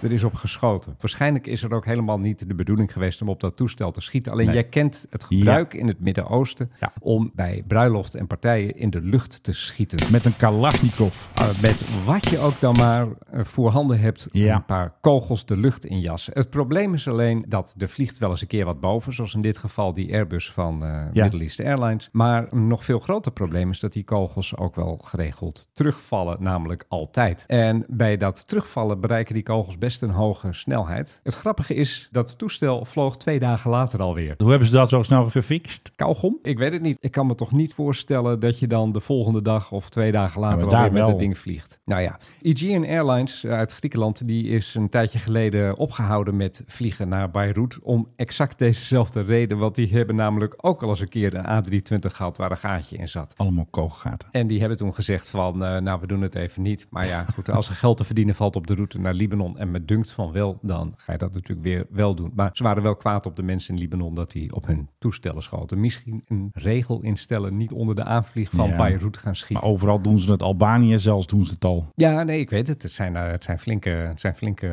Er is op geschoten. Waarschijnlijk is er ook helemaal niet de bedoeling geweest om op dat toestel te schieten. Alleen
Nee.
jij kent het gebruik in het Midden-Oosten
Ja.
om bij bruiloft en partijen partijen in de lucht te schieten.
Met een Kalashnikov.
Eh, met wat je ook dan maar eh, voorhanden hebt. Een paar kogels de lucht in jassen. Het probleem is alleen dat er vliegt wel eens een keer wat boven. Zoals in dit geval die Airbus van eh
Ja.
Middle East Airlines. Maar een nog veel groter probleem is dat die kogels ook wel geregeld terugvallen. Namelijk altijd. En bij dat terugvallen bereiken die kogels best een hoge snelheid. Het grappige is dat het toestel vloog twee dagen later alweer.
Hoe hebben ze dat zo snel gefixt?
Kauwgom? Ik weet het niet. Ik kan me toch niet voorstellen dat je dan de volgende dag of twee dagen later
maar
alweer
daar
met
wel.
het ding vliegt. Nou ja, Aegean Airlines eh, uit Griekenland die is een tijdje geleden opgehouden met vliegen naar Beirut om exact dezezelfde reden. Want die hebben namelijk ook al eens een keer een A320 gehad waar een gaatje in zat.
Allemaal kogelgaten.
En die hebben toen gezegd van, eh, nou we doen het even niet. Maar ja, goed, als er geld te verdienen valt op de route naar Libanon en me dunkt van wel, dan ga je dat natuurlijk weer wel doen. Maar ze waren wel kwaad op de mensen in Libanon dat die op hun toestellen schoten. Misschien een regel instellen, niet onder de aanvlieg van
Ja.
Beirut gaan schieten.
Maar overal doen ze het. Albanië zelfs doen ze het al.
Ja, nee, ik weet het. Het zijn, eh, het zijn flinke, het zijn flinke,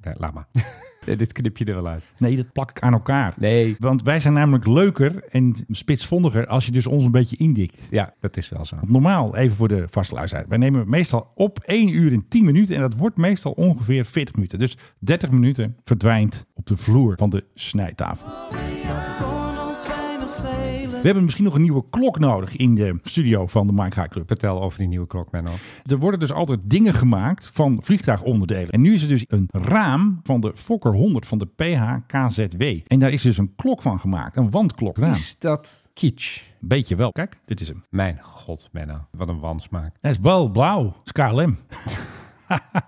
eh, laat maar. Nee, Dit knip je er wel uit.
Nee, dat plak ik aan elkaar.
Nee.
Want wij zijn namelijk leuker en spitsvondiger als je dus ons een beetje indikt.
Ja, dat is wel zo.
Want normaal, even voor de vaste luisteraar, wij nemen meestal op 1 uur en 10 minuten. En dat wordt meestal ongeveer 40 minuten. Dus 30 minuten verdwijnt op de vloer van de snijtafel.
Kon ons weinig schelen.
We hebben misschien nog een nieuwe klok nodig in de studio van de Mike High Club.
Vertel over die nieuwe klok, Menno.
Er worden dus altijd dingen gemaakt van vliegtuigonderdelen. En nu is er dus een raam van de Fokker 100 van de PHKZW. En daar is dus een klok van gemaakt, een wandklokraam.
Is dat kitsch?
Beetje wel. Kijk, dit is hem.
Mijn god, Menno. Wat een wansmaak.
Hij is wel blauw. Het is KLM.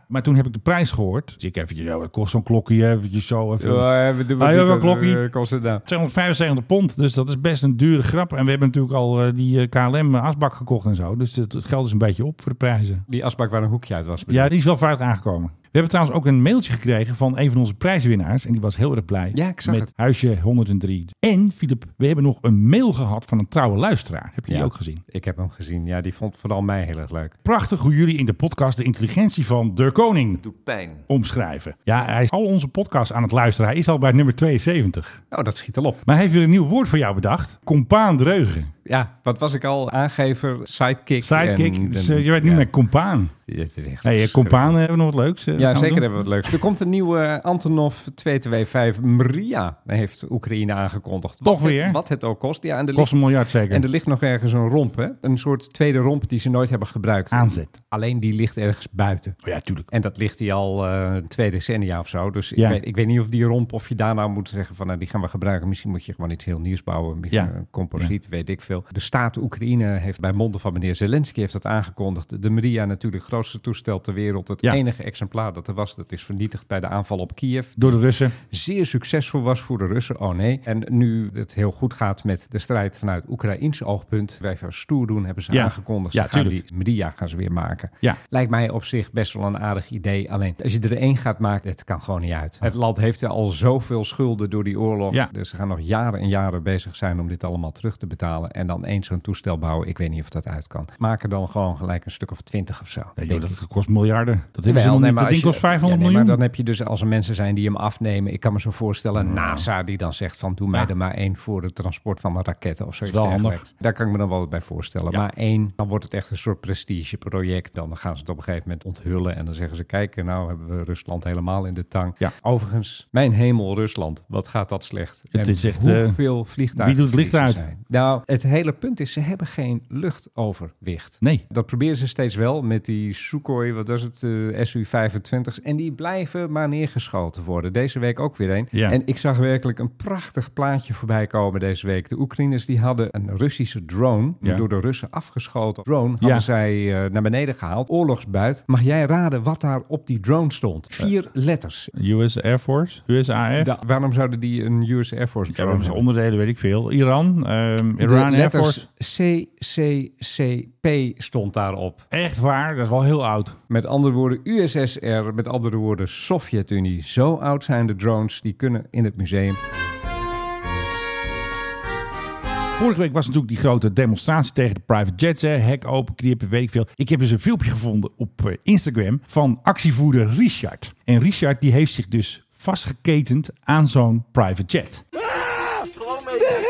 maar toen heb ik de prijs gehoord. Dus ik eventjes, ja, wat kost zo'n klokje? Eventjes zo even.
Ja, we doen- we
Ah,
doen
ja,
dat,
klokkie.
eh, kost het nou?
275 pond, dus dat is best een dure grap. En we hebben natuurlijk al eh, die KLM-asbak gekocht en zo. Dus het, het geld is een beetje op voor de prijzen.
Die asbak waar een hoekje uit was.
Ja, die is wel veilig aangekomen. We hebben trouwens ook een mailtje gekregen van een van onze prijswinnaars. En die was heel erg blij
Ja, ik zag
met
het.
huisje 103. En, Filip, we hebben nog een mail gehad van een trouwe luisteraar. Heb je
Ja,
die ook gezien?
Ik heb hem gezien. Ja, die vond vooral mij heel erg leuk.
Prachtig hoe jullie in de podcast de intelligentie van de koning
Pijn.
omschrijven. Ja, hij is al onze podcast aan het luisteren. Hij is al bij nummer 72.
Nou, dat schiet al op.
Maar hij heeft weer een nieuw woord voor jou bedacht. Compaandreugen.
Ja, wat was ik al? Aangever, sidekick.
Sidekick.
en-
dus
en-
eh, je werd nu
ja.
met compaan.
Dit is echt
Hé, hey, eh, compaan, eh, hebben we nog wat leuks? eh, gaan
Ja,
we
zeker
doen?
hebben we het leuks. Er komt een nieuwe Antonov 225 Maria, heeft Oekraïne aangekondigd.
Toch
wat
weer?
Het, wat het ook kost. Ja, en er
Kost een
ligt-
miljard zeker.
En er ligt nog ergens een romp, hè? Een soort tweede romp die ze nooit hebben gebruikt.
Aanzet. Oh
Alleen die ligt ergens buiten.
ja, tuurlijk.
En dat ligt die al eh, twee decennia of zo. Dus
Ja.
ik, weet, ik weet niet of die romp, of je daarna moet zeggen van... nou, die gaan we gebruiken. Misschien moet je gewoon iets heel nieuws bouwen. misschien
Ja.
Een composiet, weet ik veel. De staat Oekraïne heeft bij monden van meneer Zelensky heeft dat aangekondigd. De Maria natuurlijk, grootste toestel ter wereld. Het
Ja.
enige exemplaar dat er was, dat is vernietigd bij de aanval op Kiev
Door de Russen.
zeer succesvol was voor de Russen. Oh nee. En nu het heel goed gaat met de strijd vanuit Oekraïns oogpunt. Wij even stoer doen, hebben ze
Ja.
aangekondigd.
Ja,
ze gaan
tuurlijk.
die Maria gaan ze weer maken.
Ja.
Lijkt mij op zich best wel een aardig idee. Alleen als je er één gaat maken, het kan gewoon niet uit. Het land heeft er al zoveel schulden door die oorlog.
Ja.
Dus ze gaan nog jaren en jaren bezig zijn om dit allemaal terug te betalen. En dan eens zo'n toestel bouwen. Ik weet niet of dat uit kan. Maak er dan gewoon gelijk een stuk of twintig of zo.
Nee, joh,
Denk
dat
ik.
kost miljarden. Dat hebben ze
Jawel,
nog
nee,
niet.
maar
Dat ding
als
kost
je- ja,
500
nee,
miljoen.
Maar dan heb je dus als er mensen zijn die hem afnemen. Ik kan me zo voorstellen,
Hmm.
NASA die dan zegt van doe mij er maar één voor het transport van mijn raketten of zoiets
wel handig.
dergelijks. Daar kan ik me dan wel wat bij voorstellen.
Ja.
Maar één, dan wordt het echt een soort prestigeproject. Dan gaan ze het op een gegeven moment onthullen en dan zeggen ze kijk, nou hebben we Rusland helemaal in de tang.
Ja.
Overigens, mijn hemel Rusland, wat gaat dat slecht.
Het
En
is echt, eh,
hoeveel vliegtuigen
wie doet het licht
verliezen
uit?
zijn. Nou, het hele punt is, ze hebben geen luchtoverwicht.
Nee.
Dat proberen ze steeds wel met die Sukhoi, wat was het, eh, SU-25's. En die blijven maar neergeschoten worden. Deze week ook weer een.
Ja.
En ik zag werkelijk een prachtig plaatje voorbij komen deze week. De Oekraïners die hadden een Russische drone,
Ja.
door de Russen afgeschoten drone, hadden
Ja.
zij eh, naar beneden gehaald. Oorlogsbuit. Mag jij raden wat daar op die drone stond?
Eh.
Vier letters.
US Air Force, USAF.
Da- waarom zouden die een US Air Force
Ja,
drone
we hebben ze onderdelen, weet ik veel. Iran, ehm
De
Iran Air Force.
letters CCCP stond daarop.
Echt waar, dat is wel heel oud.
Met andere woorden USSR, met andere woorden Sovjet-Unie. Zo oud zijn de drones, die kunnen in het museum.
Vorige week was natuurlijk die grote demonstratie tegen de private jets. Hè. Hek open, knippen, weet ik veel. Ik heb dus een filmpje gevonden op eh, Instagram van actievoerder Richard. En Richard die heeft zich dus vastgeketend aan zo'n private jet.
Slow me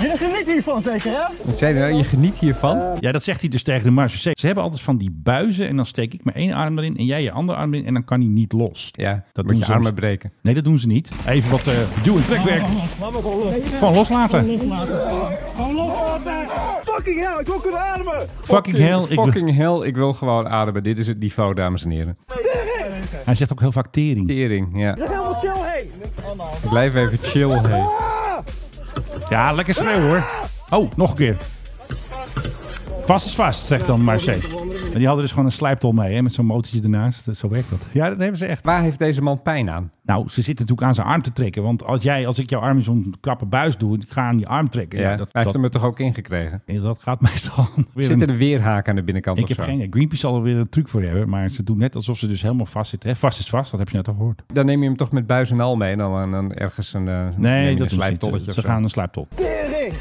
Jullie genieten hiervan zeker, hè?
Wat zei je nou? Je geniet hiervan?
Ja, dat zegt hij dus tegen de marge. Ze hebben altijd van die buizen en dan steek ik mijn ene arm erin en jij je andere arm erin en dan kan hij niet los. Ja, dat
moet je armen
breken. Nee, dat doen ze niet. Even wat eh duw- en trekwerk. Gewoon loslaten.
Gewoon loslaten. Gewoon loslaten. Fucking hell, ik wil kunnen ademen.
Fucking hell, ik wil-
fucking hell, ik wil gewoon ademen. Dit is het niveau, dames en heren.
Hij zegt ook heel vaak tering.
Tering, ja.
Er is helemaal chill heen.
Ik blijf even chill, hey.
Ja, lekker schreeuwen hoor. Oh, nog een keer. Vast is vast, zegt dan Marseille. Maar die hadden dus gewoon een slijptol mee, hè, met zo'n motortje ernaast. Eh, Zo werkt dat. Ja, dat hebben ze echt.
Waar heeft deze man pijn aan?
Nou, ze zitten natuurlijk aan zijn arm te trekken. Want als jij, als ik jouw arm in zo'n krappe buis doe, ik ga aan die arm trekken.
Ja,
dat,
hij heeft
dat-
hem er toch ook ingekregen?
Dat gaat meestal weer
Zit er
een-
een weerhaak aan de binnenkant
Ik
of
heb
zo?
geen idee. Greenpeace zal er weer een truc voor hebben. Maar ze doen net alsof ze dus helemaal vast zitten. Hè? Vast is vast, dat heb je net al gehoord.
Dan neem je hem toch met buis en al mee en dan, dan ergens een, eh, neem je
dat
een
is
slijptolletje
niet.
of
Ze
zo.
gaan een slijptol.
Tering.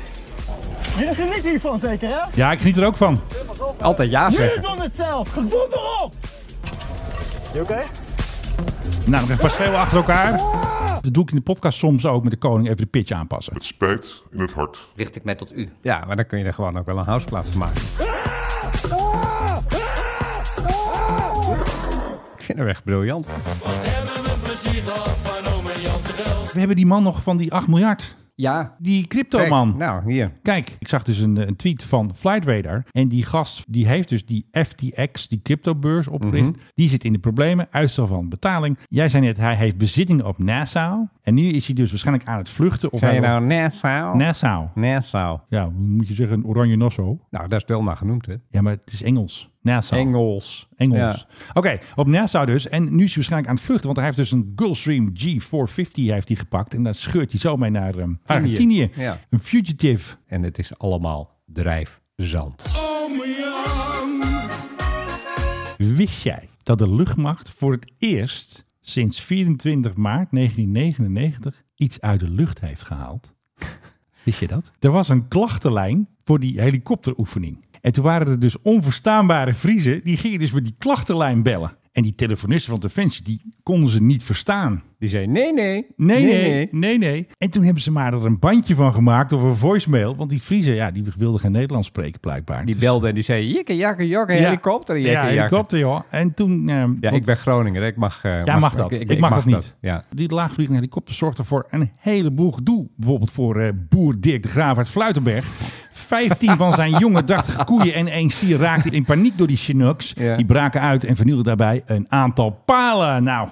Jullie genieten hiervan zeker, hè?
Ja, ik geniet er ook van. Nou,
Altijd ja
Jullie doen het zelf. Gedoe erop. Je oké?
Nou, nog even een paar schreeuwen achter elkaar. Dat doe ik in de podcast soms ook met de koning even de pitch aanpassen. Het spijt in het hart.
Richt ik mij tot u. Ja, maar dan kun je er gewoon ook wel een houseplaats van maken. Ik vind hem echt briljant.
We hebben die man nog van die 8 miljard.
Ja.
Die crypto man.
nou, hier.
Kijk, ik zag dus een, eh, een tweet van Flight Radar. En die gast, die heeft dus die FTX, die cryptobeurs opgericht.
Mhm.
Die zit in de problemen, uitstel van betaling. Jij zei net, hij heeft bezitting op Nassau. En nu is hij dus waarschijnlijk aan het vluchten. Of
Zei je
hij-
nou Nassau?
Nassau.
Nassau.
Ja, hoe moet je zeggen, een oranje Nassau?
Nou, daar is wel naar genoemd, hè?
Ja, maar het is Engels. Nassau.
Engels.
Engels.
Ja.
Oké, op Nassau dus. En nu is hij waarschijnlijk aan het vluchten, want hij heeft dus een Gulfstream G450 heeft hij gepakt. En daar scheurt hij zo mee naar ehm, Argentinië.
Ja.
Een fugitive.
En het is allemaal drijfzand.
Wist jij dat de luchtmacht voor het eerst sinds 24 maart 1999 iets uit de lucht heeft gehaald? Wist je dat? Er was een klachtenlijn voor die helikopteroefening. En toen waren er dus onverstaanbare Vriezen, die gingen dus met die klachtenlijn bellen. En die telefonisten van Defensie, die konden ze niet verstaan.
Die zei nee, nee.
Nee,
Nee,
nee, nee, nee, En toen hebben ze maar er een bandje van gemaakt of een voicemail. Want die Vriezen, ja, die wilden geen Nederlands spreken blijkbaar. Dus
Die belde en die zei jikke, jakke, jokke,
Ja.
helikopter,
Ja,
jikke, jakke.
helikopter, joh. En toen... ehm,
Ja,
want-
ik ben Groninger, hè. ik mag... eh,
ja, mag, dat. Ik, mag, dat niet.
Ja.
Die laagvliegende helikopter zorgde voor een heleboel gedoe. Bijvoorbeeld voor eh, boer Dirk de Graaf uit Fluitenberg. Vijftien van zijn jonge drachtige koeien en één stier raakten in paniek door die Chinooks. Die braken uit en vernielden daarbij een aantal palen. Nou,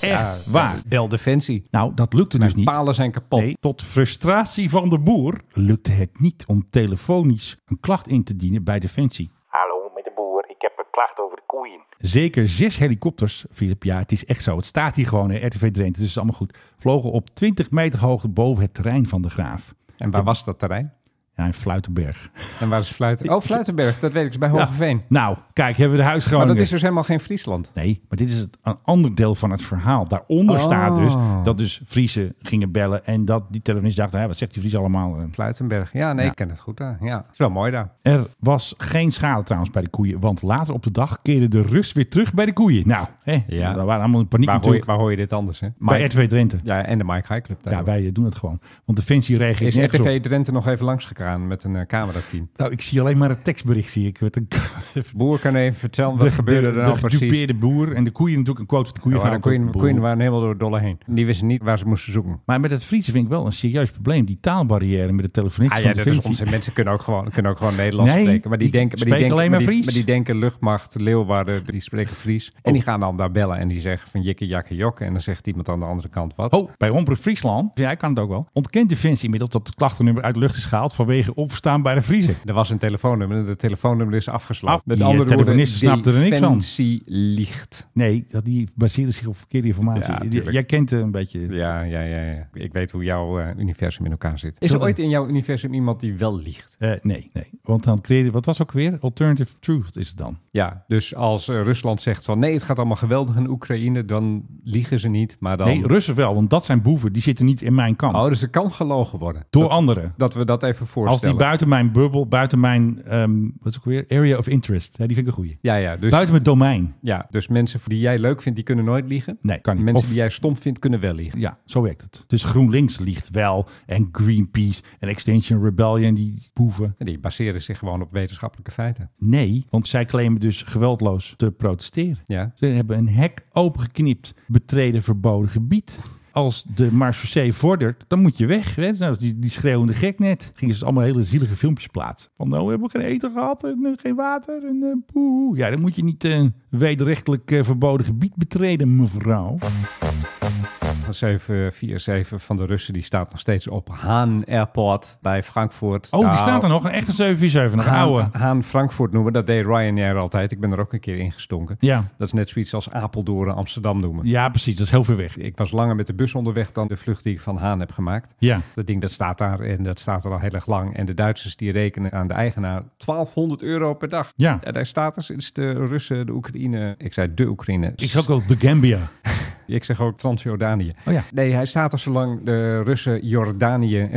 echt waar.
Bel Defensie.
Nou, dat lukte dus niet.
palen zijn kapot.
Nee, tot frustratie van de boer lukte het niet om telefonisch een klacht in te dienen bij Defensie.
Hallo, met de boer. Ik heb een klacht over de koeien.
Zeker zes helikopters, Filip. Ja, het is echt zo. Het staat hier gewoon in RTV Drenthe, dus het is allemaal goed. Vlogen op 20 meter hoogte boven het terrein van de Graaf.
En waar was dat terrein?
Ja, in Fluitenberg.
En waar is Fluiten? Oh, Fluitenberg, dat weet ik, is bij Hogeveen.
Nou, kijk, hebben we de
maar
huisgroningen.
dat is dus helemaal geen Friesland.
Nee, maar dit is het, een ander deel van het verhaal. Daaronder
Oh.
staat dus dat dus Friese gingen bellen en dat die telefonist dacht, hè, wat zegt die Fries allemaal? Eh,
Fluitenberg, ja, nee, ik ken het goed daar. Ja, is wel mooi daar.
Er was geen schade trouwens bij de koeien, want later op de dag keerde de rust weer terug bij de koeien. Nou, hè,
Ja.
daar waren allemaal in paniek
Waar hoor, je,
natuurlijk.
waar hoor je dit anders, hè?
Bij RTV Drenthe.
Ja, en de Mike High Club daar.
Ja, wij eh, doen het gewoon. Want Defensie reageert
Is
nergens op.
RTV Drenthe nog even langs gegaan met een eh, camerateam?
Nou, ik zie alleen maar het tekstbericht, zie ik. Met een...
Boer kan even vertellen, wat gebeurde er nou
De
precies?
gedupeerde boer en de koeien natuurlijk, een quote van de koeien.
Ja, maar
gaan
de koeien,
altijd boer.
koeien waren helemaal door het dolle heen. Die wisten niet waar ze moesten zoeken.
Maar met het Friese vind ik wel een serieus probleem. Die taalbarrière met de telefonist
Ah
van
ja, dat is
Defensie.
onzin. Mensen kunnen ook gewoon, kunnen ook gewoon Nederlands
Nee,
spreken. Maar die,
die
denken, maar die denken,
spreken alleen maar
die-
Fries. Oh.
maar die denken luchtmacht, Leeuwarden, die spreken Fries. En die gaan dan daar bellen en die zeggen van jikke, jakke, jokke. En dan zegt iemand aan de andere kant wat.
Oh, bij Omroep Friesland, jij kan het ook wel, ontkent Defensie inmiddels dat het klachtennummer uit de lucht is gehaald vanwege onverstaanbare Vriezen.
Er was een telefoonnummer en dat telefoonnummer is afgeslagen.
Af- die, eh, telefonist snapte er niks van.
Defensie liegt.
Nee, dat die baseren zich op verkeerde informatie.
Ja,
Die-
tuurlijk.
jij kent eh, een beetje.
Ja, ja, ja, ja. Ik weet hoe jouw eh, universum in elkaar zit. Is
Zullen
er
we-
ooit in jouw universum iemand die wel liegt?
Eh, nee, nee. Want dan creëer je, wat was ook weer? Alternative truth is het dan.
Ja, dus als eh, Rusland zegt van nee, het gaat allemaal geweldig in Oekraïne, dan liegen ze niet, maar dan...
Nee, Russen wel, want dat zijn boeven. Die zitten niet in mijn kamp.
Oh, dus er kan gelogen worden.
Door anderen.
Dat we dat even voor
Als die
voorstellen.
buiten mijn bubbel, buiten mijn, ehm, wat is het ook weer? Area of interest. Ja, die vind ik een goeie.
Ja, ja, dus-
Buiten mijn domein.
Ja, dus mensen die jij leuk vindt, die kunnen nooit liegen.
Nee, kan niet.
Mensen
Of-
die jij stom vindt, kunnen wel liegen.
Ja, zo werkt het. Dus GroenLinks liegt wel. En Greenpeace en Extinction Rebellion, die boeven.
Die baseren zich gewoon op wetenschappelijke feiten.
Nee, want zij claimen dus geweldloos te protesteren.
Ja.
Ze hebben een hek opengeknipt, betreden verboden gebied. Als de Mars voor Zee vordert, dan moet je weg. Hè? Nou, als die, die schreeuwende gek net. Gingen ze dus allemaal hele zielige filmpjes plaatsen. Van nou, we hebben geen eten gehad en eh, geen water en eh, poe. Ja, dan moet je niet eh wederrechtelijk eh, verboden gebied betreden, mevrouw. Oh,
747 van de Russen, die staat nog steeds op Haan Airport bij Frankfurt.
Oh, die staat er nog. Een echte 747, een
Haan-
oude.
Haan Frankfurt noemen, dat deed Ryanair altijd. Ik ben er ook een keer ingestonken.
Ja.
Dat is net zoiets als Apeldoorn Amsterdam noemen.
Ja, precies. Dat is heel ver weg.
Ik was langer met de bus onderweg dan de vlucht die ik van Haan heb gemaakt.
Ja.
Dat ding dat staat daar en dat staat er al heel erg lang. En de Duitsers die rekenen aan de eigenaar 1200 euro per dag.
Ja.
En daar staat er sinds de Russen, de Oekraïne. Ik zei de Oekraïne.
Ik zag ook wel de Gambia.
Ik zeg ook Transjordanië.
Oh ja.
Nee, hij staat er zolang de Russen Jordanië.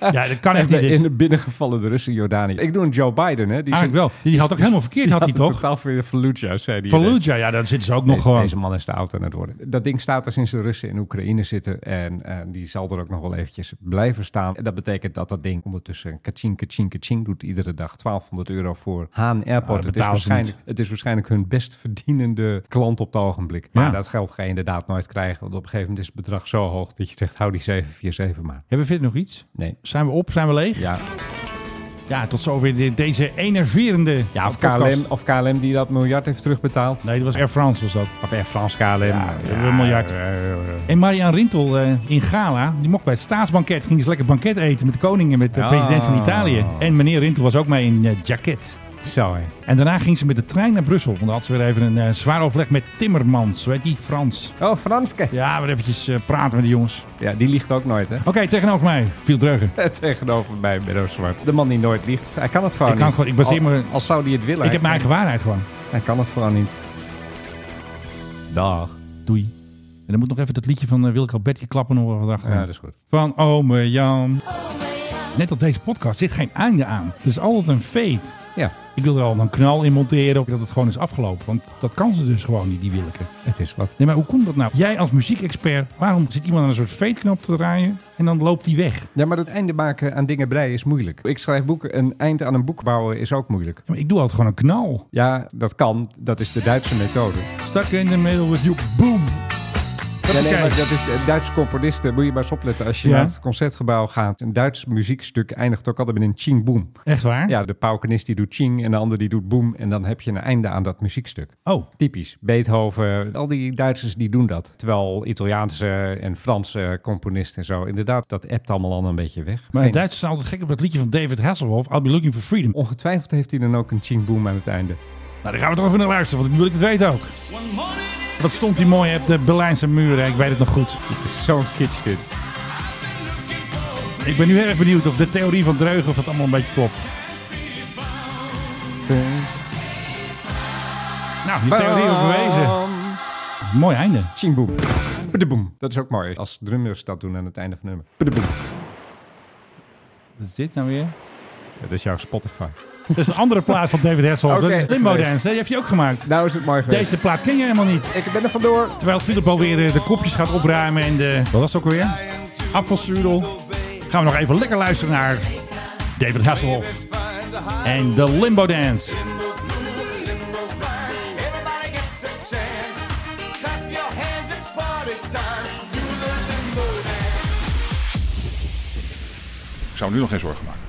Ja, dat kan echt
En
niet, dit.
In de binnengevallen de Russen Jordanië. Ik doe een Joe Biden, hè? Die
Eigenlijk wel. Die had ook helemaal verkeerd, had hij
het
toch?
Totaal voor Fallujah, zei hij.
Fallujah, ja, daar zitten ze ook nog gewoon.
Deze man is de oud aan het worden. Dat ding staat er sinds de Russen in Oekraïne zitten. En eh, die zal er ook nog wel eventjes blijven staan. En dat betekent dat dat ding ondertussen kaching, kaching, kaching doet. Iedere dag 1200 euro voor Haan
dat
Airport. het, is
betalen ze
waarschijnlijk, het is waarschijnlijk hun best verdienende klant op het ogenblik. Maar
Ja.
dat geld ga je inderdaad nooit krijgen. Want op een gegeven moment is het bedrag zo hoog dat je zegt, hou die 747 maar.
Hebben we verder nog iets?
Nee.
Zijn we op? Zijn we leeg?
Ja.
Ja, tot zover de- deze enerverende
Ja, of
podcast.
KLM, of KLM die dat miljard heeft terugbetaald.
Nee, dat was Air France was dat.
Of Air France KLM. Ja,
een miljard.
eh, eh, eh.
En Marian Rintel eh, in Gala, die mocht bij het staatsbanket, ging eens lekker banket eten met de koning en met de
Ah.
president van Italië. En meneer Rintel was ook mee in eh, jacket.
Zo hè.
En daarna ging ze met de trein naar Brussel, want dan had ze weer even een eh, zwaar overleg met Timmermans, weet die, Frans.
Oh, Franske.
Ja, weer eventjes eh, praten met de jongens.
Ja, die liegt ook nooit, hè?
Oké, tegenover mij, viel Dreugen.
Tegenover mij, Benno Zwart. De man die nooit liegt. Hij kan het gewoon
Ik kan
niet.
gewoon- ik baseer
Al-
me-
Als zou hij het willen.
Ik heb mijn eigen
waarde.
waarheid gewoon.
Hij kan het gewoon niet. Dag.
Doei. En dan moet nog even dat liedje van eh, Wilke Albertje klappen nog wat achter.
Ja, dat is goed.
Van Ome Jan. Net als deze podcast zit geen einde aan. Het is altijd een feit.
Ja.
Ik wil er al een knal in monteren, dat het gewoon is afgelopen. Want dat kan ze dus gewoon niet, die Wilke.
Het is wat.
Nee, maar hoe komt dat nou? Jij als muziekexpert, waarom zit iemand aan een soort fate-knop te draaien en dan loopt die weg?
Ja, maar het einde maken aan dingen breien is moeilijk. Ik schrijf boeken. Een eind aan een boek bouwen is ook moeilijk.
Ja, maar ik doe altijd gewoon een knal.
Ja, dat kan. Dat is de Duitse methode.
Stuck in the middle with you, boom.
Ja, nee,
Hoppakee.
maar dat is eh, Duitse componisten. Moet je maar eens opletten. Als je
Ja.
naar het concertgebouw gaat, een Duits muziekstuk eindigt ook altijd met een ching boom.
Echt waar?
Ja, de paukenist die doet ching en de ander die doet boom. En dan heb je een einde aan dat muziekstuk.
Oh.
Typisch. Beethoven, al die Duitsers die doen dat. Terwijl Italiaanse en Franse componisten en zo. Inderdaad, dat ebt allemaal al een beetje weg.
Maar
Geen-
Duitsers zijn altijd gek op dat liedje van David Hasselhoff, I'll be looking for freedom.
Ongetwijfeld heeft hij dan ook een ching boom aan het einde.
Nou, daar gaan we toch even naar luisteren, want nu wil ik het weten ook. Wat stond die mooi op de Berlijnse muren, ik weet het nog goed.
Het is zo'n kitsch dit.
Ik ben nu erg benieuwd of de theorie van Dreugen of het allemaal een beetje klopt. Nou, je theorie
Bam.
overwezen. Mooi einde.
Ching boom. Pdeboom. Dat is ook mooi als drummers dat doen aan het einde van het nummer. Pdeboom.
Wat is dit nou weer?
Dat is jouw Spotify.
Dat is een andere plaat van David Hasselhoff.
Oké,
dat is Limbo
geweest.
Dance, die heb je ook gemaakt.
Nou is het mooi geweest.
Deze plaat ken je helemaal niet.
Ik ben er vandoor.
Terwijl Philip alweer eh, de kopjes gaat opruimen en de... Wat was het ook alweer? Appelsuurdel. Gaan we nog even lekker luisteren naar David Hasselhoff. En de Limbo Dance.
Everybody gets a chance. Clap your hands, it's party time. Do the limbo dance.
Ik zou me nu nog geen zorgen maken.